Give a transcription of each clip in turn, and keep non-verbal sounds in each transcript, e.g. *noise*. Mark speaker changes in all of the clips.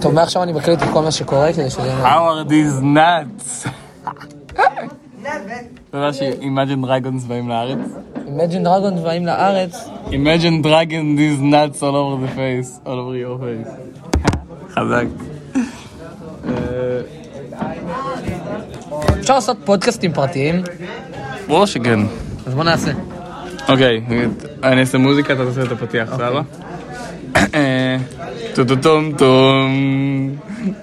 Speaker 1: טוב, מעכשיו אני מקליט את כל מה שקורה כדי שזה... יהיה-
Speaker 2: Howard is nuts. אתה יודע ש-Imagine Dragons באים לארץ?
Speaker 1: Imagine Dragons באים לארץ.
Speaker 2: Imagine Dragons is nuts all over the face, all over your face. חזק. אה,
Speaker 1: אפשר לעשות פודקאסטים פרטיים?
Speaker 2: ברור שכן.
Speaker 1: אז בוא נעשה.
Speaker 2: אוקיי, אני אעשה מוזיקה, אתה תעשה את הפתיח, סבבה? אה, טו-טו-טום טום,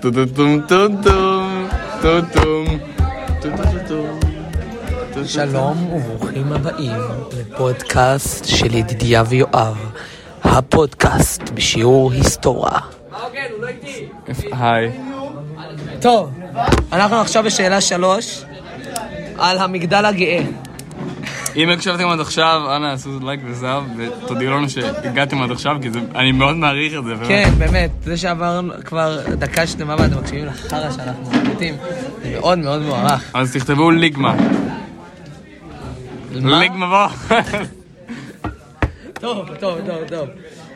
Speaker 2: טו-טו-טום טום טום, טו-טום, טו-טו-טום.
Speaker 1: שלום וברוכים הבאים לפודקאסט של ידידיה ויואב. הפודקאסט בשיעור היסטוריה.
Speaker 2: היי.
Speaker 1: טוב, אנחנו עכשיו בשאלה שלוש, על המגדל הגאה.
Speaker 2: אם הקשבתם עד עכשיו, אנא עשו לייק וזהב, ותודיעו לנו שהגעתם עד עכשיו, כי זה- אני מאוד מעריך את זה. באמת.
Speaker 1: כן, באמת, זה שעברנו כבר דקה שלמה ואתם מקשיבים לחרא שאנחנו מקליטים, זה מאוד מאוד מוערך.
Speaker 2: אז תכתבו ליגמה.
Speaker 1: מה?
Speaker 2: ליגמה *laughs* בוא.
Speaker 1: טוב, טוב, טוב, טוב.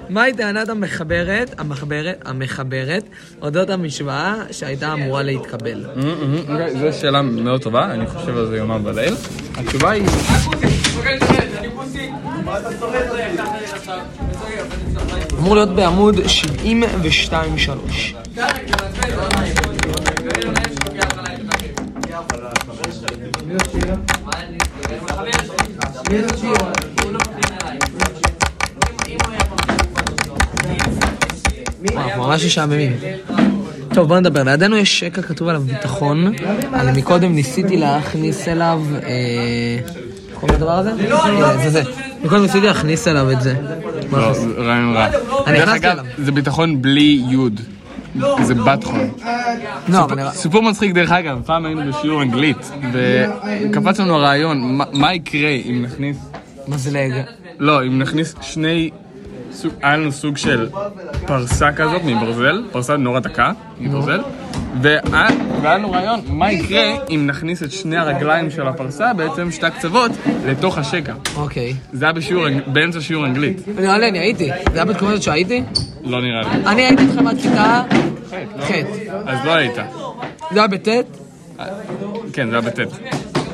Speaker 1: מהי טענת המחברת, המחברת, המחברת, אודות המשוואה שהייתה אמורה להתקבל?
Speaker 2: אוקיי, זו שאלה מאוד טובה, אני חושב על זה יומם וליל. התשובה היא...
Speaker 1: אמור להיות בעמוד 72-3. וואו, ממש משעממים. טוב, בוא נדבר. לידינו יש שקע כתוב עליו ביטחון. אני מקודם ניסיתי להכניס אליו... אה, איך קוראים לדבר הזה? אה, זה זה. מקודם ניסיתי להכניס אליו את זה. מה
Speaker 2: לא,
Speaker 1: אנחנו
Speaker 2: זה רעיון רע.
Speaker 1: אני
Speaker 2: דרך
Speaker 1: נכנסתי
Speaker 2: אגב,
Speaker 1: אליו.
Speaker 2: זה ביטחון בלי יוד. זה בתחון.
Speaker 1: לא, אבל נראה...
Speaker 2: סיפור מצחיק דרך אגב, פעם היינו בשיעור אנגלית, וקפץ לנו הרעיון, מה- מה יקרה אם נכניס...
Speaker 1: מזלג.
Speaker 2: לא, אם נכניס שני... סוג- היה לנו סוג של פרסה כזאת מברזל, פרסה נורא דקה מברזל, וה- והיה לנו רעיון, מה יקרה אם נכניס את שני הרגליים של הפרסה, בעצם שתי הקצוות, לתוך השקע.
Speaker 1: אוקיי.
Speaker 2: זה היה בשיעור, אנג- באמצע שיעור אנגלית.
Speaker 1: נראה לי אני הייתי. זה היה בתקופה הזאת שהייתי?
Speaker 2: לא נראה לי.
Speaker 1: אני הייתי איתכם עד כיתה ח'.
Speaker 2: אז לא היית.
Speaker 1: זה היה בט'?
Speaker 2: כן, זה היה בטט.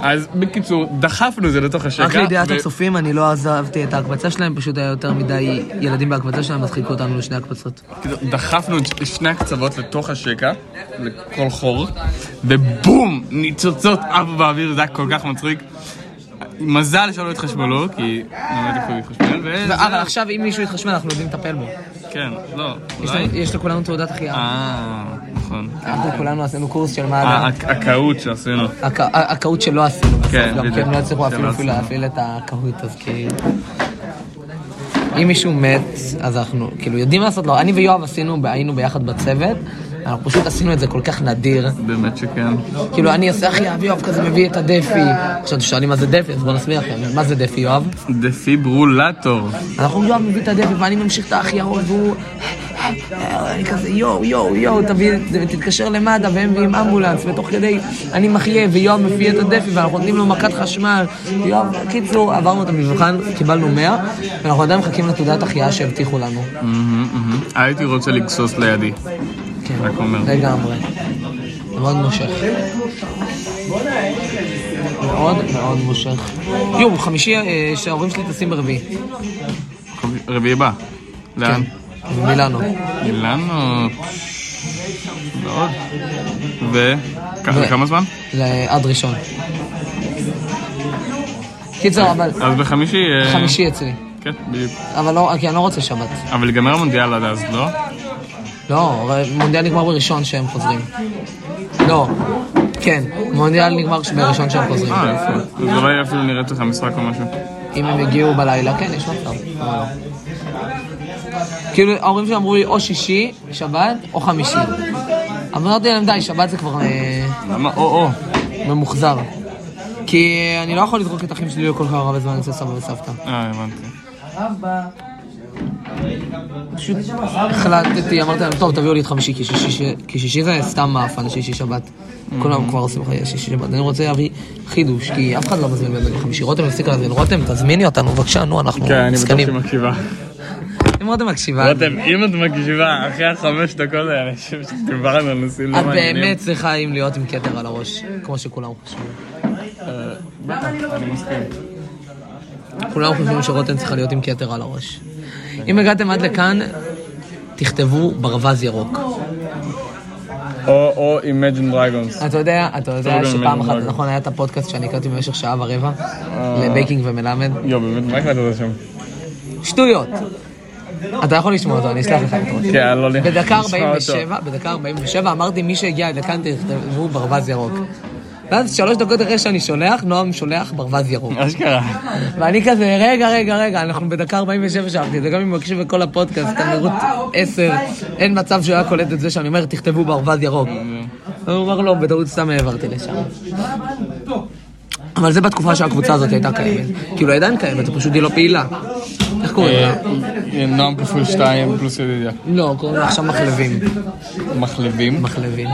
Speaker 2: אז בקיצור, דחפנו זה לתוך השקע.
Speaker 1: רק לידיעת
Speaker 2: ו-
Speaker 1: הצופים, אני לא עזבתי את ההקבצה שלהם, פשוט היה יותר מדי ילדים בהקבצה שלהם, אז חילקו אותנו לשני הקבצות.
Speaker 2: כאילו, דחפנו את שני הקצוות לתוך השקע, לכל חור, ובום! ניצוצות עפו באוויר, זה היה כל כך מצחיק. מזל שלא התחשמלו, כי לא באמת יכולו להתחשמל, וזה...
Speaker 1: אה, אבל עכשיו אם מישהו יתחשמל, אנחנו יודעים לטפל בו.
Speaker 2: כן, לא,
Speaker 1: יש
Speaker 2: אולי...
Speaker 1: לנו- יש לכולנו תעודת החייאה.
Speaker 2: אה, נכון.
Speaker 1: אנחנו כולנו עשינו קורס של מד"א.
Speaker 2: הה- הקהות שעשינו.
Speaker 1: הכ- הכהות שלא עשינו בסוף,
Speaker 2: כן,
Speaker 1: גם כי
Speaker 2: בדיוק.
Speaker 1: הם לא הצליחו
Speaker 2: שלא
Speaker 1: אפילו
Speaker 2: עשינו.
Speaker 1: אפילו להפעיל את הכהות, אז כאילו... אם מישהו מת, אז אנחנו כאילו יודעים מה לעשות לו. אני ויואב עשינו, היינו ביחד בצוות, אנחנו פשוט עשינו את זה כל כך נדיר.
Speaker 2: באמת שכן.
Speaker 1: כאילו, אני עושה אחי יואב, יואב כזה מביא את הדפי. עכשיו, אתם שואלים מה זה דפי, אז בואו נסביר לכם. מה זה דפי, יואב?
Speaker 2: דפיברולטור.
Speaker 1: אנחנו יואב מביא את הדפי, ואני ממשיך את האחי ההוא, והוא... אני כזה, יואו, יואו, יואו, תביא את זה, ותתקשר למד"א, והם מביאים אמבולנס, ותוך כדי אני מחיה, ויואב מפיא את הדפי, ואנחנו נותנים לו מכת חשמל. יואב, קיצור, עברנו את המבחן, קיבלנו 100, ואנחנו עדיין מחכים לתעודת החייאה שהבטיחו לנו.
Speaker 2: מהמם, מהמם. הייתי רוצה לגסוס לידי.
Speaker 1: כן,
Speaker 2: רק אומר.
Speaker 1: לגמרי. זה מאוד מושך. מאוד מאוד מושך. יום, חמישי אה, שההורים שלי טסים ברביעי.
Speaker 2: רביעי הבא.
Speaker 1: כן.
Speaker 2: לאן?
Speaker 1: מילאנו.
Speaker 2: אילנו. ועוד. ו... כ-
Speaker 1: ו-
Speaker 2: כמה זמן?
Speaker 1: ל- עד ראשון. קיצר, אבל
Speaker 2: אז בחמישי... אה,
Speaker 1: חמישי אצלי.
Speaker 2: כן, בדיוק.
Speaker 1: אבל לא, כי אני לא רוצה שבת.
Speaker 2: אבל ייגמר המונדיאל עד אז, לא?
Speaker 1: לא, הרי מונדיאל נגמר בראשון שהם חוזרים. לא. כן, מונדיאל נגמר בראשון שהם חוזרים.
Speaker 2: אה, יפה. אז אולי אפילו נראית לך משחק או משהו.
Speaker 1: אם הם הגיעו בלילה, כן, יש מצב. למה לא? כאילו, ההורים שלי אמרו לי או שישי, שבת, או חמישי. אבל אמרתי להם, די, שבת זה כבר אה,
Speaker 2: למה? או-או.
Speaker 1: ממוחזר. כי אני לא יכול לזרוק את האחים שלי לכל כך הרבה זמן אצל סבא וסבתא.
Speaker 2: אה, הבנתי.
Speaker 1: פשוט החלטתי, אמרתי להם, טוב, תביאו לי את חמישי, כי שישי- כי שישי זה סתם מאפן, שישי שבת. כולם כבר עושים חיי שישי שבת. אני רוצה להביא חידוש, כי אף אחד לא מזמין ממני בחמישי. רותם הפסיק להזמין, רותם, תזמיני אותנו, בבקשה, נו, אנחנו
Speaker 2: כן, אני בטוח שהיא
Speaker 1: מסכנים.
Speaker 2: מקשיבה.
Speaker 1: אם אם עוד מקשיבה.
Speaker 2: רותם, אם את מקשיבה, אחרי החמש דקות האלה, אני חושב שדיברנו על נושאים לא
Speaker 1: את
Speaker 2: מעניינים.
Speaker 1: באמת צריכה אם להיות עם כתר על הראש, כמו שכולם חושבים.
Speaker 2: בטח, אני מסכים.
Speaker 1: כולם חושבים שרותם צריכה להיות עם כתר על הראש. אם הגעתם עד לכאן, תכתבו ברווז ירוק.
Speaker 2: או או Imagine Dragons.
Speaker 1: אתה יודע, אתה יודע
Speaker 2: גם
Speaker 1: שפעם
Speaker 2: ממנו
Speaker 1: אחת,
Speaker 2: דרגה.
Speaker 1: נכון, היה את הפודקאסט שאני הקראתי במשך שעה ורבע,
Speaker 2: אה.
Speaker 1: לבייקינג ומלמד.
Speaker 2: יו, באמת, מה הקלטת שם?
Speaker 1: שטויות. אתה יכול לשמוע אותו, אני אשלח לך את
Speaker 2: *laughs*
Speaker 1: רוצה.
Speaker 2: כן, לא לי.
Speaker 1: בדקה
Speaker 2: נשמע אותו.
Speaker 1: 47, בדקה 47 אמרתי, מי שהגיע עד לכאן תכתבו ברווז ירוק. ואז שלוש דקות אחרי שאני שולח, נועם שולח ברווז ירוק.
Speaker 2: אשכרה.
Speaker 1: ואני כזה, רגע, רגע, רגע, אנחנו בדקה 47 שלחתי את זה, גם אם הוא מקשיב לכל הפודקאסט, תמירות 10, אין מצב שהוא היה קולט את זה שאני אומר, תכתבו ברווז ירוק. הוא אומר, לא, בטעות סתם העברתי לשם. אבל זה בתקופה שהקבוצה הזאת הייתה קיימת. כאילו, היא עדיין קיימת, פשוט היא לא פעילה. איך קוראים לה?
Speaker 2: אה, נועם כפול שתיים פלוס ידידיה.
Speaker 1: לא, קוראים לה עכשיו מחלבים.
Speaker 2: מחלבים?
Speaker 1: מחלבים.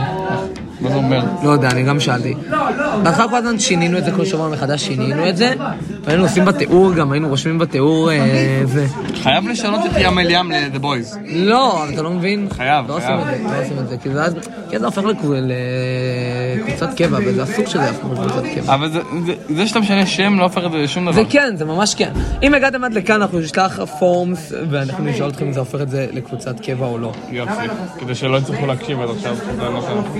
Speaker 2: מה זה אומר?
Speaker 1: לא יודע, אני גם שאלתי. בהתחלה כל הזמן שינינו את זה, כל שבוע מחדש שינינו את זה, והיינו עושים בתיאור גם, היינו רושמים בתיאור אה, זה.
Speaker 2: חייב לשנות את ים אל ים ל-The Boys.
Speaker 1: לא, אבל אתה לא מבין.
Speaker 2: חייב,
Speaker 1: לא
Speaker 2: חייב.
Speaker 1: עושים את זה, לא עושים את זה, כי זה אז, כי זה הופך לקבוצ- לקבוצת קבע, וזה אסור שזה יהפוך לקבוצת קבע.
Speaker 2: אבל זה- זה- זה שאתה משנה שם לא הופך את זה לשום דבר.
Speaker 1: זה כן, זה ממש כן. אם הגעתם עד לכאן, אנחנו נשלח פורמס, ואנחנו נשאל אתכם אם זה הופך את זה לקבוצת קבע או לא.
Speaker 2: יופי. כדי שלא יצטרכו להקשיב עד עכשיו. זה לא חשוב.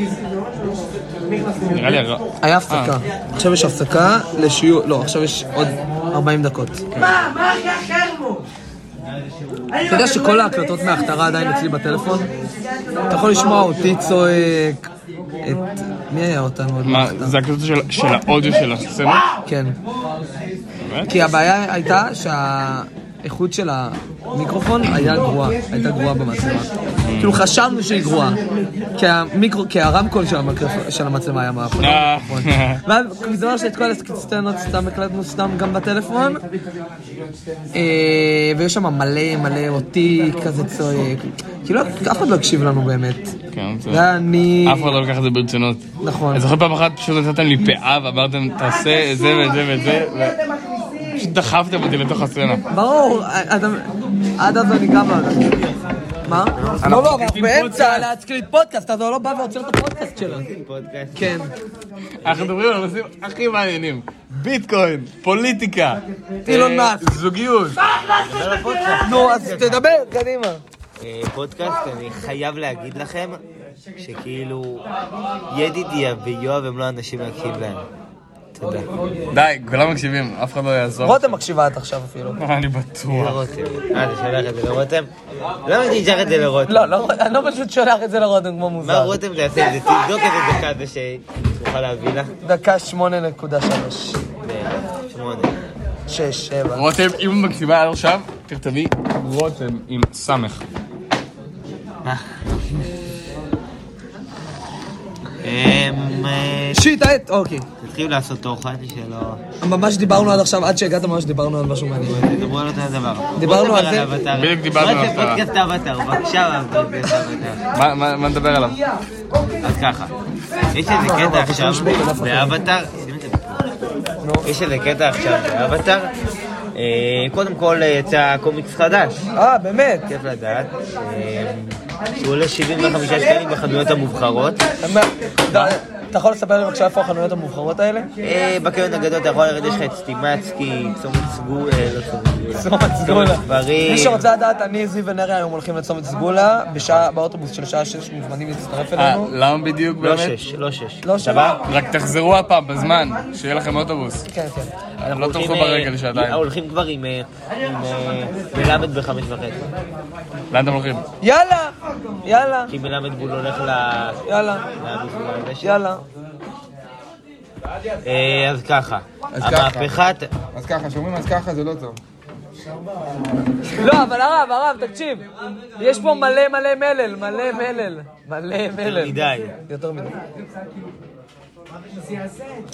Speaker 2: נראה לי... הר-
Speaker 1: היה הפסקה. עכשיו יש הפסקה לשיעור, לא, עכשיו יש עוד 40 דקות.
Speaker 3: מה, מה היה חרמו?
Speaker 1: אתה יודע שכל ההקלטות מההכתרה עדיין אצלי בטלפון? אתה יכול לשמוע אותי צועק, את... מי היה אותנו עוד
Speaker 2: מה,
Speaker 1: בהכתרה?
Speaker 2: זה הקלטות של- של האודיו של הסצנות?
Speaker 1: כן.
Speaker 2: באמת?
Speaker 1: כי הבעיה הייתה שהאיכות של המיקרופון היה גרועה, הייתה גרועה במצלמה. כאילו חשבנו שהיא גרועה, כי, המיקרו, כי הרמקול של, המקרפ... של המצלמה היה מאחורי.
Speaker 2: אה.
Speaker 1: ואז בזמן שאת כל הסצנות סתם הקלטנו סתם גם בטלפון, אה, ויש שם מלא מלא אותי כזה צועק, כאילו אף אחד לא הקשיב לנו באמת.
Speaker 2: כן, זה-
Speaker 1: ואני...
Speaker 2: אף אחד לא לקח את זה ברצינות.
Speaker 1: נכון.
Speaker 2: אני זוכר פעם אחת פשוט נתתם לי פאה ואמרתם תעשה את זה ואת זה ואת זה. ו- פשוט דחפתם אותי לתוך הסצנה.
Speaker 1: ברור, אתה- עד אז אני גם... לא מה? לא, לא, אנחנו באמצע להקליט פודקאסט, אז הוא לא בא ועוצר את הפודקאסט שלו. כן.
Speaker 2: אנחנו מדברים על הנושאים הכי מעניינים. ביטקוין, פוליטיקה.
Speaker 1: אילון
Speaker 2: אה,
Speaker 1: מאסק.
Speaker 2: זוגיות.
Speaker 1: נו, אז תדבר, קדימה.
Speaker 4: אה, פודקאסט, אני חייב להגיד לכם שכאילו ידידיה ויואב הם לא אנשים להקשיב להם. תודה.
Speaker 1: לא.
Speaker 2: די, כולם מקשיבים, אף אחד לא יעזור.
Speaker 1: רותם מקשיבה עד עכשיו אפילו.
Speaker 2: אני בטוח.
Speaker 4: רותם. אה, אתה שולח את זה לרותם? למה אני אשלח את זה לרותם?
Speaker 1: לא, לא, אני לא פשוט שולח את זה לרותם כמו
Speaker 4: מה
Speaker 1: מוזר.
Speaker 4: רותם תעשה את זה? תבדוק את זה דקה זה שתוכל להביא לך.
Speaker 1: דקה שמונה נקודה שלוש.
Speaker 4: ו- שמונה.
Speaker 1: שש, שבע.
Speaker 2: רותם, אם הוא מקשיבה עד עכשיו, תכתבי רותם עם סמך.
Speaker 4: אמ, אה,
Speaker 1: שיט, העט, אוקיי.
Speaker 4: תתחילו לעשות תוכן שלא...
Speaker 1: ממש דיברנו עד עכשיו, עד שהגעת ממש דיברנו על משהו מעניין.
Speaker 4: תדברו על אותו הדבר.
Speaker 1: דיברנו
Speaker 4: רותם
Speaker 1: על זה.
Speaker 4: האבטר.
Speaker 2: בדיוק דיברנו על
Speaker 4: רותם,
Speaker 2: האבטר.
Speaker 4: פודקאסט האבטר. בבקשה, אוהב, פודקאסט האבטר.
Speaker 2: מה- מה מה נדבר עליו?
Speaker 4: אז ככה, יש איזה קטע עכשיו באבטאר, שים את זה פה. יש איזה קטע עכשיו באבטאר, אה, קודם כל אה, יצא קומיקס חדש,
Speaker 1: אה, באמת?
Speaker 4: כיף לדעת, אה, שהוא עולה 75 שקלים בחנויות המובחרות,
Speaker 1: אתה יכול לספר לי בבקשה איפה החנויות המובחרות האלה?
Speaker 4: אה, בקרן הגדול אתה יכול לרדת, יש לך את סטימצקי, צומת סגולה, לא צומת סגולה,
Speaker 1: צומת סגולה.
Speaker 4: דברים.
Speaker 1: מי שרוצה לדעת, אני, זיו ונרי היום הולכים לצומת סגולה, בשעה, באוטובוס של שעה שש מוזמנים להצטרף
Speaker 2: אה,
Speaker 1: אלינו.
Speaker 2: למה בדיוק
Speaker 4: לא
Speaker 2: באמת?
Speaker 4: שש, לא שש,
Speaker 1: לא שש.
Speaker 4: סבבה?
Speaker 2: רק תחזרו הפעם בזמן, שיהיה לכם אוטובוס.
Speaker 1: כן, כן.
Speaker 2: אתם לא תלכו
Speaker 4: הולכים, אה,
Speaker 2: ברגל שעדיין.
Speaker 4: הולכים כבר עם אה, עם, אה, מלמד בחמש וחצי,
Speaker 2: לאן אתם הולכים?
Speaker 1: יאללה! יאללה!
Speaker 4: כי מלמד בול הולך ל...
Speaker 1: יאללה! יאללה.
Speaker 4: אה, אז ככה,
Speaker 5: אז ככה.
Speaker 4: המהפכה,
Speaker 5: אז ככה, שאומרים אז ככה זה לא טוב.
Speaker 1: לא, אבל הרב, הרב, תקשיב. יש פה מלא מלא מלל, מלא מלל. מלא מלל.
Speaker 4: מדי.
Speaker 1: יותר מדי.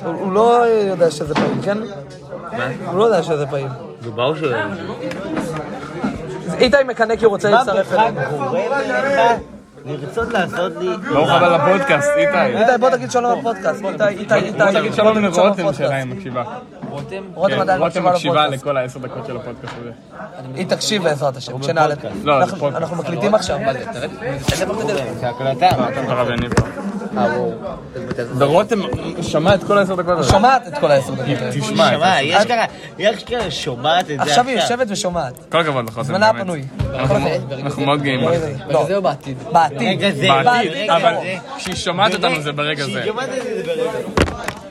Speaker 1: הוא הוא לא יודע שזה פעיל, כן? הוא לא יודע שזה פעיל.
Speaker 4: נו ברור שהוא
Speaker 1: איתי מקנקי רוצה להצטרף אלינו.
Speaker 4: גורמת לך לרצות לעשות לי...
Speaker 2: ברוך הבא לפודקאסט, איתי.
Speaker 1: איתי, בוא תגיד שלום לפודקאסט. איתי, איתי, איתי.
Speaker 2: בוא תגיד שלום לרותם
Speaker 1: לפודקאסט.
Speaker 2: שלה, היא מקשיבה.
Speaker 1: רותם
Speaker 2: כן,
Speaker 1: עדיין
Speaker 2: רותם
Speaker 1: מקשיבה
Speaker 2: מקשיבה
Speaker 1: לפודקאסט.
Speaker 2: לכל העשר דקות של הפודקאסט הזה.
Speaker 1: היא תקשיב בעזרת השם, כשנעלה.
Speaker 2: לא, זה
Speaker 1: אנחנו-
Speaker 2: פודקאסט.
Speaker 1: אנחנו מקליטים עכשיו.
Speaker 4: זה הקלטה.
Speaker 2: הרב יניב. ורותם שמע את כל העשר דקות האלה.
Speaker 1: שומעת את כל העשר דקות. האלה.
Speaker 2: תשמע, את
Speaker 4: שמע, יש ככה, יש ככה שומעת את זה
Speaker 1: עכשיו היא יושבת ושומעת.
Speaker 2: זה. כל הכבוד לך, רותם.
Speaker 1: זמנה
Speaker 2: באמת.
Speaker 1: הפנוי.
Speaker 2: אנחנו-
Speaker 6: אוקיי.
Speaker 2: אנחנו מאוד גאים בך.
Speaker 1: לא. זהו בעתיד. בעתיד. לא,
Speaker 4: רגע זה,
Speaker 2: בעתיד,
Speaker 4: רגע
Speaker 2: אבל
Speaker 4: זה.
Speaker 2: כשהיא שומעת אותנו זה ברגע זה.
Speaker 4: שהיא שומעת את זה ברגע זה.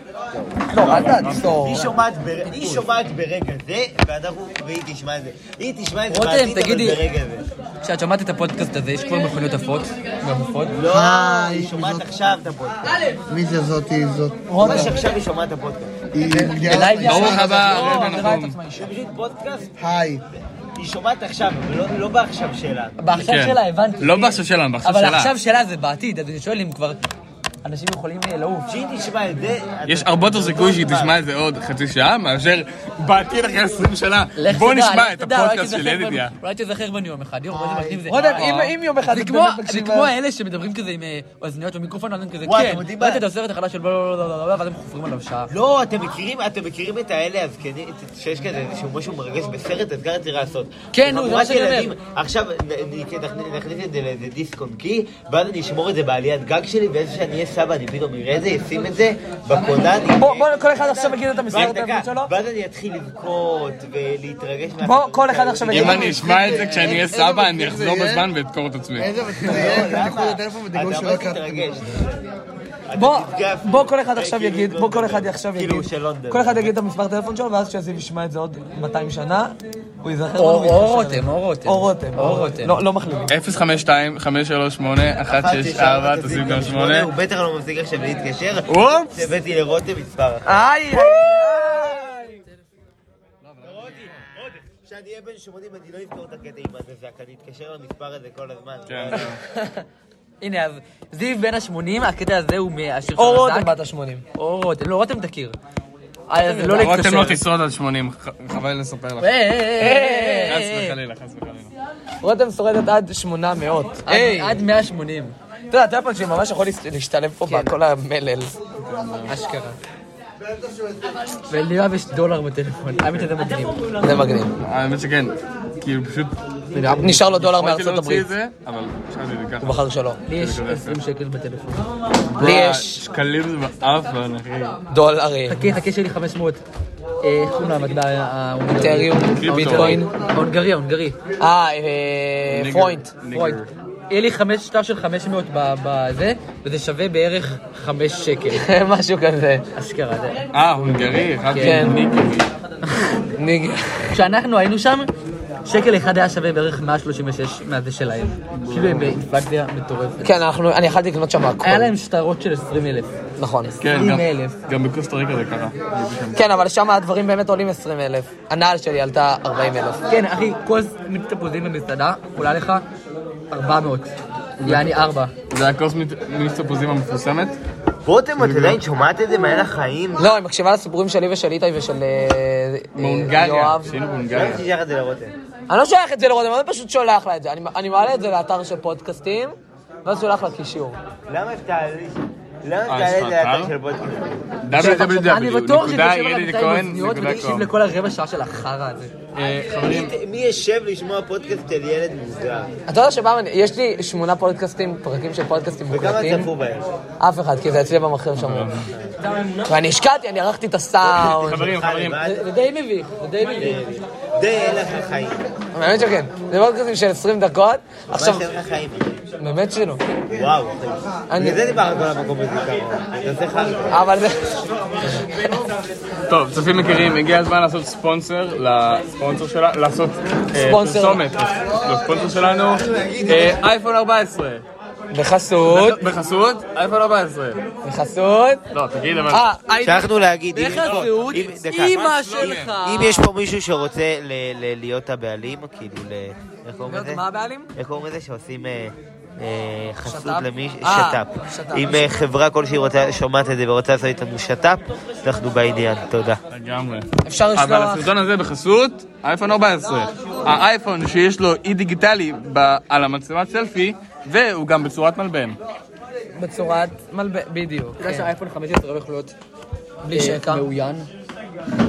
Speaker 1: לא, אל תעצור.
Speaker 4: היא שומעת בר- היא שומעת ברגע זה, ואנחנו- והיא תשמע את זה. היא תשמע את זה
Speaker 6: רותם,
Speaker 4: בעתיד, אבל
Speaker 6: תגידי.
Speaker 4: ברגע זה.
Speaker 6: כשאת שומעת את הפודקאסט הזה, יש כבר מכוניות עפות? גם עפות?
Speaker 4: לא, היא שומעת עכשיו את הפודקאסט.
Speaker 7: מי זה זאתי? זאת...
Speaker 4: ממש עכשיו היא שומעת את הפודקאסט.
Speaker 7: היא גדלה
Speaker 6: אלייב
Speaker 7: בעישון.
Speaker 2: ברוך הבא, רב
Speaker 1: מגדירה את
Speaker 2: נחום.
Speaker 1: עצמה אישה.
Speaker 4: זה פשוט פודקאסט,
Speaker 7: היי.
Speaker 4: היא שומעת עכשיו, אבל לא- לא בא עכשיו שאלה.
Speaker 6: בעכשיו
Speaker 2: כן.
Speaker 6: שלה, הבנתי.
Speaker 2: לא בעכשיו שלנו, בעכשיו
Speaker 6: אבל
Speaker 2: שלה.
Speaker 6: עכשיו שלה זה בעתיד, אז אני שואל אם כבר אנשים יכולים אה, לעוף.
Speaker 4: כשהיא תשמע את זה... אתה- לא,
Speaker 2: יש הרבה יותר סיכוי שהיא תשמע את זה עוד חצי שעה, מאשר בעתיד אחרי 20 שנה.
Speaker 6: לך
Speaker 2: בוא
Speaker 6: תדע, לך
Speaker 2: נשמע את
Speaker 6: תדע, אולי
Speaker 2: הפודקאסט של
Speaker 6: תיזכר בנו-
Speaker 2: ידידיה.
Speaker 6: אולי תיזכר בנו יום אחד, יום, איזה מגניב זה.
Speaker 1: רותם, אם- אם יום אחד
Speaker 6: זה
Speaker 1: את
Speaker 6: כמו-
Speaker 1: באמת אה,
Speaker 6: זה
Speaker 1: מקשיבה-
Speaker 6: כמו האלה שמדברים כזה עם אה, אוזניות ומיקרופון, ואז הם כזה,
Speaker 4: וואי,
Speaker 6: כן,
Speaker 4: אתם יודעים מה?
Speaker 6: ראית את הסרט החדש של בלה בלה בלה בלה בלה, ואז הם חופרים עליו שעה.
Speaker 4: לא, אתם מכירים, אתם מכירים את האלה הזקנים, שיש כזה איזשהו משהו מרגש בסרט, אז גרתי לעשות.
Speaker 6: כן, נו, זה מה שאני אומר.
Speaker 4: ילדים, עכשיו נ- נ- נכ- נכניס את זה לאיזה דיסק און קי, ואז אני אשמור את זה בעליית גג שלי, ואיזה שאני אהיה סבא, אני פתאום אראה את זה, אשים את זה, בקונן.
Speaker 1: בוא, בוא, כל אחד עכשיו יגיד את המסגרת
Speaker 4: ואז-
Speaker 1: האמת שלו.
Speaker 4: ואז אני אתחיל לבכות ולהתרגש.
Speaker 1: בוא,
Speaker 4: מהחברים
Speaker 1: כל אחד
Speaker 4: שלי.
Speaker 1: עכשיו
Speaker 2: אם
Speaker 1: יגיד.
Speaker 2: אני אשמע את זה כשאני אהיה
Speaker 7: איזה
Speaker 2: סבא,
Speaker 7: מצחיק
Speaker 2: אני
Speaker 7: זה
Speaker 2: אחזור
Speaker 7: יהיה.
Speaker 2: בזמן ואדקור את עצמי.
Speaker 7: איזה מצחיק זה
Speaker 4: לא,
Speaker 7: יהיה, תפתחו
Speaker 4: למה?
Speaker 7: את הטלפון ותגעו
Speaker 4: אתה
Speaker 7: שלא
Speaker 4: ממש
Speaker 7: הקלטתם.
Speaker 4: תתרגש. אתה
Speaker 1: בוא,
Speaker 4: תתגף.
Speaker 1: בוא כל אחד עכשיו
Speaker 4: כאילו
Speaker 1: יגיד, בוא כל אחד
Speaker 4: לונדון.
Speaker 1: עכשיו יגיד,
Speaker 4: כאילו של לונדון.
Speaker 1: כל אחד יגיד את המספר טלפון שלו, ואז כשזיו ישמע את זה עוד 200 שנה, הוא ייזכר בנו.
Speaker 6: או
Speaker 1: והוא יתקשר
Speaker 6: או רותם,
Speaker 1: אלינו.
Speaker 6: או רותם.
Speaker 1: או רותם,
Speaker 6: או רותם.
Speaker 1: לא לא מחלימים.
Speaker 2: 052-538-164, תוסיף גם 8.
Speaker 4: הוא בטח לא מפסיק עכשיו להתקשר.
Speaker 2: אופס! אה.
Speaker 4: שהבאתי לרותם מספר אחת.
Speaker 1: איי!
Speaker 4: כשאני אהיה בן 80 אני לא אזכור את הקטע עם הזזק, אני אתקשר למספר הזה כל הזמן.
Speaker 2: כן, זהו.
Speaker 6: הנה, אז זיו בן ה-80, הקטע הזה הוא מהשיר של
Speaker 1: או רותם
Speaker 6: הזק.
Speaker 1: בת ה-80.
Speaker 6: או רותם, לא, רותם תכיר. אז לא להתקשר.
Speaker 2: רותם לא תשרוד עד 80, ח- חבל לי לספר לך.
Speaker 6: אה, אה, אה,
Speaker 2: חס
Speaker 6: אה,
Speaker 2: וחלילה, חס וחלילה.
Speaker 1: רותם שורדת עד 800.
Speaker 6: אה, אה. עד עד 180.
Speaker 1: אתה יודע, הטלפון שלי ממש יכול להס- להשתלב פה בכל המלל.
Speaker 6: אשכרה. וליואב יש דולר בטלפון, האמת שזה מגניב.
Speaker 1: זה מגניב.
Speaker 2: האמת שכן, כאילו פשוט...
Speaker 1: נשאר לו דולר
Speaker 2: יכולתי
Speaker 1: מארצות
Speaker 2: להוציא
Speaker 1: הברית.
Speaker 2: את זה, אבל חשבתי לי ככה.
Speaker 1: הוא בחר שלא.
Speaker 6: לי יש 20 שקל בטלפון.
Speaker 1: לי
Speaker 2: וואי,
Speaker 1: יש
Speaker 2: שקלים זה באפן, אחי.
Speaker 1: דולרים.
Speaker 6: חכה, חכה שלי 500. אה, איך קוראים למטבע ההונגרי?
Speaker 1: אתריום,
Speaker 2: קריפטו.
Speaker 1: ביטקוין.
Speaker 6: ההונגרי, ההונגרי.
Speaker 1: אה, אה,
Speaker 2: ניגר,
Speaker 1: פרוינט.
Speaker 2: ניגר.
Speaker 6: פרויד. יהיה לי חמש שטר של 500 ב- בזה, וזה שווה בערך 5 שקל.
Speaker 1: *laughs* משהו כזה.
Speaker 6: אשכרה. זה-
Speaker 2: אה, הונגרי, חשבתי
Speaker 1: כן.
Speaker 2: ניקרי.
Speaker 1: ניגר.
Speaker 6: כשאנחנו היינו שם, שקל אחד היה שווה בערך 136 מהזה שלהם. כאילו הם באינפלציה מטורפת.
Speaker 1: כן, אנחנו, אני יכלתי לקנות שם הכל.
Speaker 6: היה להם שטרות של 20 אלף.
Speaker 1: נכון.
Speaker 2: כן, גם-
Speaker 6: 20,000.
Speaker 2: גם בקוסטה ריקה זה ככה.
Speaker 1: כן, אבל שם הדברים באמת עולים 20 אלף. הנעל שלי עלתה 40 אלף.
Speaker 6: כן, אחי, כל מיץ תפוזים במסעדה עולה לך 400. יעני 4.
Speaker 2: זה הכוס מיץ תפוזים המפורסמת?
Speaker 1: אה,
Speaker 4: רותם, את עדיין שומעת את זה מעל החיים?
Speaker 1: לא, היא מקשיבה לסיפורים שלי ושל איתי ושל אה, אה,
Speaker 2: בהונגריה,
Speaker 1: יואב.
Speaker 2: שהיינו
Speaker 4: למה
Speaker 2: בהונגריה.
Speaker 4: תשאר את זה לרותם?
Speaker 1: אני לא שולח את זה לרותם, אני פשוט שולח לה את זה. אני- אני מעלה את זה לאתר של פודקאסטים, ואז שולח לה קישור.
Speaker 4: למה תעלי? למה
Speaker 2: אה, יש
Speaker 4: תעלה
Speaker 2: לך
Speaker 4: את זה לאתר
Speaker 2: אתר?
Speaker 4: של בודקאסט?
Speaker 6: אני בטוח שזה יושב עליו בינתיים
Speaker 2: www.ידידכהן.com
Speaker 6: אוזניות ותקשיב לכל הרבע שעה של החרא הזה.
Speaker 2: אה, חברים,
Speaker 4: מי- מי יושב לשמוע פודקאסט של ילד מוזר?
Speaker 1: אתה יודע שבא, יש לי שמונה פודקאסטים, פרקים של פודקאסטים
Speaker 4: וכמה
Speaker 1: מוקלטים.
Speaker 4: צפו בהם?
Speaker 1: אף אחד, כי זה אצלי במחשב שם. ואני השקעתי, אני ערכתי את הסאונד.
Speaker 2: חברים, חברים.
Speaker 1: זה זה די מביך, זה די מביך.
Speaker 4: די, אין לך חיים.
Speaker 1: באמת שכן. זה פודקאסטים של 20 דקות. עכשיו,
Speaker 4: עכשיו... אין לך חיים.
Speaker 1: באמת שלא.
Speaker 4: וואו. בגלל זה דיברנו על המקום הזה ככה. אתה עושה חרטא.
Speaker 1: אבל זה...
Speaker 2: טוב, צופים יקרים, הגיע הזמן לעשות ספונסר לספונסר שלה, לעשות אה,
Speaker 1: ספונסר.
Speaker 2: פרסומת לספונסר שלנו, אה, אייפון 14.
Speaker 1: בחסות,
Speaker 2: בחסות? אייפון 14.
Speaker 1: בחסות.
Speaker 2: לא, תגיד אבל.
Speaker 1: אה, אי-
Speaker 4: שכחנו להגיד, אם-
Speaker 6: בחסות,
Speaker 4: אם- דקה.
Speaker 6: אימא שלך.
Speaker 4: אם יש פה מישהו שרוצה ל- ל- להיות הבעלים, כאילו, ל- איך קוראים לזה?
Speaker 1: מה הבעלים?
Speaker 4: איך קוראים לזה שעושים אה, אה, חסות
Speaker 1: שת"פ?
Speaker 4: למי...
Speaker 1: אה,
Speaker 4: שת"פ.
Speaker 1: שת"פ.
Speaker 4: אם אה, חברה כלשהי רוצה- שומעת את זה ורוצה לעשות איתנו שת"פ, אנחנו בעניין, תודה.
Speaker 2: לגמרי.
Speaker 1: אפשר
Speaker 2: אבל
Speaker 1: לשלוח.
Speaker 2: הסרטון הזה בחסות אייפון 14. האייפון שיש לו אי דיגיטלי ב- על המצלמת סלפי, והוא גם בצורת מלבן.
Speaker 1: בצורת מלבן, בדיוק.
Speaker 6: אתה יודע שהאייפון 15 הולך להיות
Speaker 1: בלי שקע.
Speaker 6: אה, מאוין,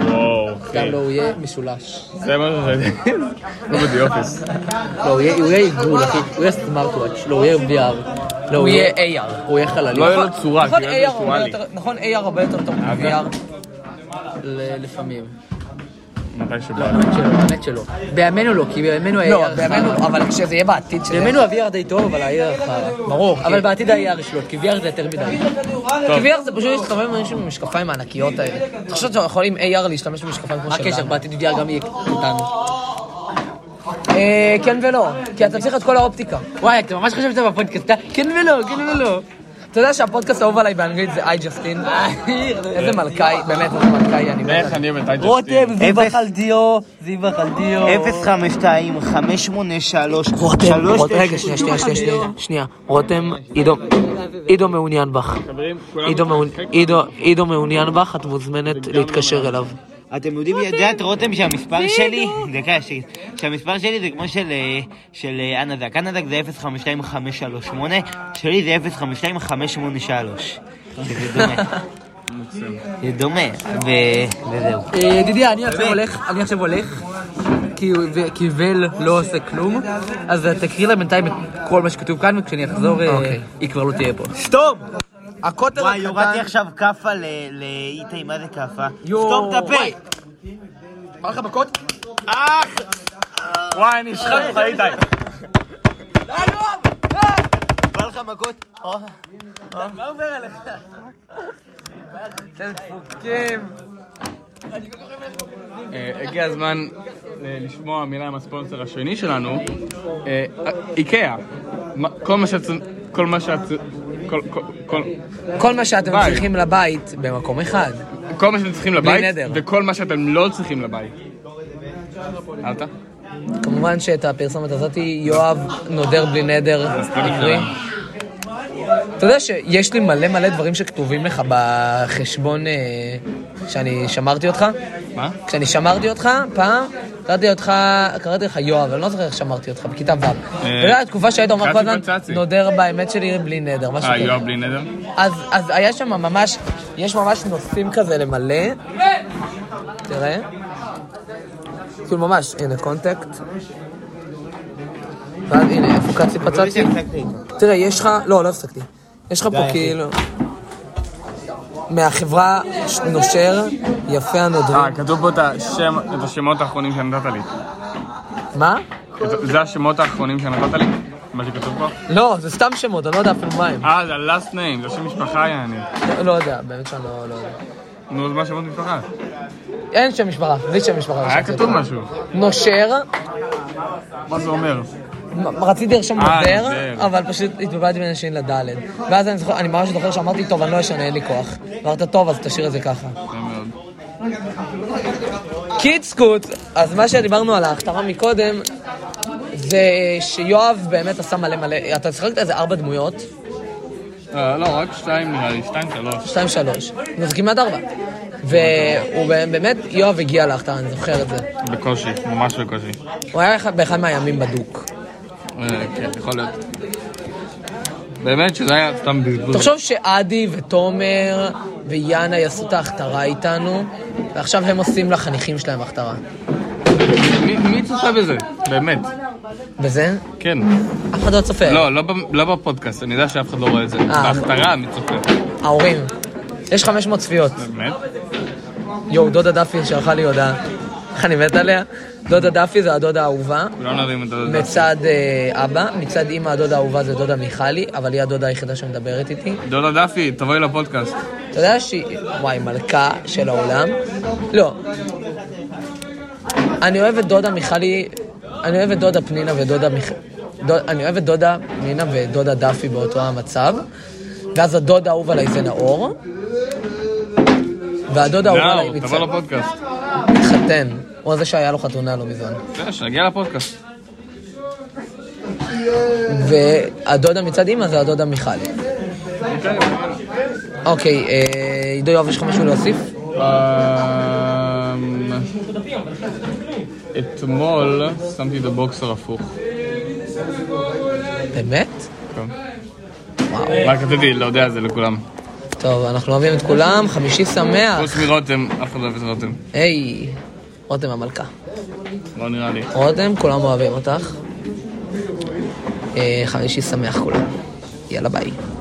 Speaker 2: וואו,
Speaker 6: גם
Speaker 2: אחי.
Speaker 6: לא הוא יהיה משולש.
Speaker 2: זה מה שזה. כמו בדי אופיס.
Speaker 6: לא, הוא יהיה- הוא יהיה עיגול, אחי, הוא יהיה סמארטוואץ', לא, הוא יהיה VR. לא,
Speaker 1: הוא יהיה AR.
Speaker 6: הוא יהיה
Speaker 2: *laughs*
Speaker 6: חללי.
Speaker 2: לא יהיה לו צורה,
Speaker 1: נכון,
Speaker 2: כי הוא יהיה
Speaker 1: AR הרבה
Speaker 2: וירטואלי.
Speaker 1: יותר- נכון, AR הרבה יותר טוב מ-VR.
Speaker 6: ל- לפעמים.
Speaker 2: מתי שבא.
Speaker 6: לא, האמת שלא, האמת שלא. בימינו לא, כי בימינו היה...
Speaker 1: לא, בימינו, אבל כשזה יהיה בעתיד של...
Speaker 6: בימינו ה-VR די טוב, אבל ה-AR חרא.
Speaker 1: ברור,
Speaker 6: אבל
Speaker 1: כן.
Speaker 6: בעתיד ה-AR ישלוט, כי VR זה יותר מדי.
Speaker 2: טוב.
Speaker 1: כי VR זה פשוט להסתובב עם אנשים עם המשקפיים הענקיות האלה. אתה חושב שאתה יכול עם AR להשתמש במשקפיים כמו
Speaker 6: מה הקשר?
Speaker 1: שלנו?
Speaker 6: בעתיד VR גם יהיה קטן.
Speaker 1: אה, כן ולא, כי אתה צריך את כל האופטיקה.
Speaker 6: וואי, אתה ממש חושב שזה בפודקאסט, אה? כן ולא, כן ולא.
Speaker 1: אתה יודע שהפודקאסט האהוב עליי באנגלית זה איי *laughs* ג'סטין? איזה מלכאי, באמת איזה מלכאי, אני מת.
Speaker 2: איך אני ומתי ג'סטין.
Speaker 6: רותם, זיווה
Speaker 4: אפס.
Speaker 6: חלדיו, זיווה חלדיו.
Speaker 4: 052 583
Speaker 1: רותם, כן. רותם, רגע, שנייה, שנייה, שנייה, שנייה, שנייה. רותם, עידו, עידו מעוניין בך.
Speaker 2: חברים, כולם
Speaker 1: עידו מעוניין-
Speaker 2: משחק.
Speaker 1: עידו- עידו מעוניין בך, את מוזמנת להתקשר אליו.
Speaker 4: אתם יודעים, יודעת רותם שהמספר שלי, דקה, ש- שהמספר שלי זה כמו של, אה, של אה, אנדק. אנדק זה 052538, שלי זה 052583. שזה דומה. זה דומה, ו- וזהו.
Speaker 6: אה, ידידיה, אני עכשיו הולך, אני עכשיו הולך, כי הוא- ו- כי ול לא עושה כלום, אז תקריא לה בינתיים את כל מה שכתוב כאן, וכשאני אחזור, אה,
Speaker 1: אוקיי.
Speaker 6: היא כבר לא תהיה פה.
Speaker 4: סתום!
Speaker 1: הקוטר
Speaker 4: וואי, הורדתי עכשיו כאפה ל- לאיתי, מה זה כאפה?
Speaker 1: יואו,
Speaker 4: סתום את
Speaker 1: וואי.
Speaker 4: הפה!
Speaker 1: בא לך מכות?
Speaker 2: אה, וואי, אני אשחק אותך איתי.
Speaker 4: בא לך מכות?
Speaker 2: אה, הגיע הזמן אה, לשמוע מילה עם הספונסר השני שלנו, אה, איקאה. מה- כל מה שאת... כל מה שאת... כל- כל- כל-
Speaker 1: כל מה שאתם
Speaker 2: ביי.
Speaker 1: צריכים לבית, במקום אחד.
Speaker 2: כל מה שאתם צריכים לבית,
Speaker 1: נדר.
Speaker 2: וכל מה שאתם לא צריכים לבית. אהבת?
Speaker 1: כמובן שאת הפרסומת הזאת יואב נודר בלי נדר עברי. אתה יודע שיש לי מלא מלא דברים שכתובים לך בחשבון אה, שאני שמרתי אותך?
Speaker 2: מה?
Speaker 1: כשאני שמרתי אותך, פעם, קראתי אותך, קראתי לך יואב, אני לא זוכר איך שמרתי אותך, בכיתה ו'. ולא התקופה שהיית אומר כל
Speaker 2: קראתי
Speaker 1: הזמן,
Speaker 2: בצצי.
Speaker 1: נודר באמת שלי לא בלי נדר, משהו
Speaker 2: אה,
Speaker 1: כזה.
Speaker 2: יואב בלי נדר?
Speaker 1: אז, אז היה שם ממש, יש ממש נושאים כזה למלא. תראה. כאילו ממש, הנה קונטקט. ואז הנה, איפה קצי פצצי? תראה, יש לך, לא, לא הפסקתי. יש לך פה כאילו... מהחברה ש- נושר, יפה הנודרים.
Speaker 2: אה, כתוב פה את השם, את השמות האחרונים שנתת לי. אה.
Speaker 1: מה?
Speaker 2: את- זה השמות האחרונים שנתת לי? מה שכתוב פה?
Speaker 1: לא, זה סתם שמות, אני לא יודע אפילו מה הם.
Speaker 2: אה, זה ה-last name, זה שם משפחה יעני.
Speaker 1: לא יודע, באמת שאני לא... לא יודע.
Speaker 2: נו, אז מה שמות משפחה?
Speaker 1: אין שם משפחה, בלי שם משפחה.
Speaker 2: היה
Speaker 1: רשמתי
Speaker 2: כתוב
Speaker 1: אותה.
Speaker 2: משהו.
Speaker 1: נושר,
Speaker 2: מה זה אומר?
Speaker 1: מ- רציתי לרשום
Speaker 2: אה,
Speaker 1: נודר,
Speaker 2: נודר.
Speaker 1: אבל פשוט התבלבלתי בין השני לדלת. ואז אני זוכר, אני ממש זוכר שאמרתי, טוב, אני לא אשנה, אין לי כוח. אמרת, טוב, אז תשאיר את זה ככה.
Speaker 2: יפה מאוד.
Speaker 1: קיצקוט, אז מה שדיברנו על ההכתרה מקודם, זה שיואב באמת עשה מלא מלא, אתה שיחקת איזה ארבע דמויות,
Speaker 2: אה, לא, רק שתיים נראה לי, שתיים, שלוש.
Speaker 1: שתיים, שלוש, זה כמעט ארבע. והוא באמת, יואב הגיע להכתרה, אני זוכר את זה.
Speaker 2: בקושי, ממש בקושי.
Speaker 1: הוא היה אחד- באחד מהימים בדוק.
Speaker 2: אה, כן, יכול להיות. באמת שזה היה סתם בזבוז.
Speaker 1: תחשוב שעדי ותומר ויאנה יעשו את ההכתרה איתנו, ועכשיו הם עושים לחניכים שלהם הכתרה.
Speaker 2: מי- מי צופה בזה? באמת.
Speaker 1: וזה?
Speaker 2: כן.
Speaker 1: אף אחד לא צופה.
Speaker 2: לא, לא ב- לא בפודקאסט, אני יודע שאף אחד לא רואה את זה. בהכתרה מי צופה.
Speaker 1: ההורים. יש 500 צפיות.
Speaker 2: באמת?
Speaker 1: יואו, דודה דפי שלחה לי הודעה. איך אני מת עליה? דודה דפי זה הדודה האהובה.
Speaker 2: כולנו לא יודעים את זה.
Speaker 1: מצד אה, אבא, מצד אימא הדודה האהובה זה דודה מיכלי, אבל היא הדודה היחידה שמדברת איתי.
Speaker 2: דודה דפי, תבואי לפודקאסט.
Speaker 1: אתה יודע שהיא, וואי, מלכה של העולם? לא. אני אוהב את דודה מיכלי, אני אוהב את דודה פנינה ודודה מיכ... דוד, אני אוהב את דודה פנינה ודודה דפי באותו המצב, ואז הדוד האהוב עליי זה נאור, והדוד
Speaker 6: לא,
Speaker 1: האהוב עליי
Speaker 2: נאור,
Speaker 1: מצד...
Speaker 2: תבוא לפודקאסט.
Speaker 1: התחתן. הוא זה שהיה לו חתונה לא מזמן.
Speaker 2: בסדר, כן, שנגיע לפודקאסט.
Speaker 1: והדודה מצד אימא זה הדודה מיכלי. אוקיי, אה, עידו יואב, יש לך משהו להוסיף?
Speaker 2: אמ, אתמול שמתי את הבוקסר הפוך.
Speaker 1: באמת?
Speaker 2: טוב. רק רציתי להודיע את זה לכולם.
Speaker 6: טוב, אנחנו אוהבים את כולם, חמישי שמח.
Speaker 2: חוץ מרותם, אף אחד לא אוהב את רותם.
Speaker 6: היי, רותם המלכה.
Speaker 2: לא נראה לי.
Speaker 6: רותם, כולם אוהבים אותך. אה, חמישי שמח כולם. יאללה ביי.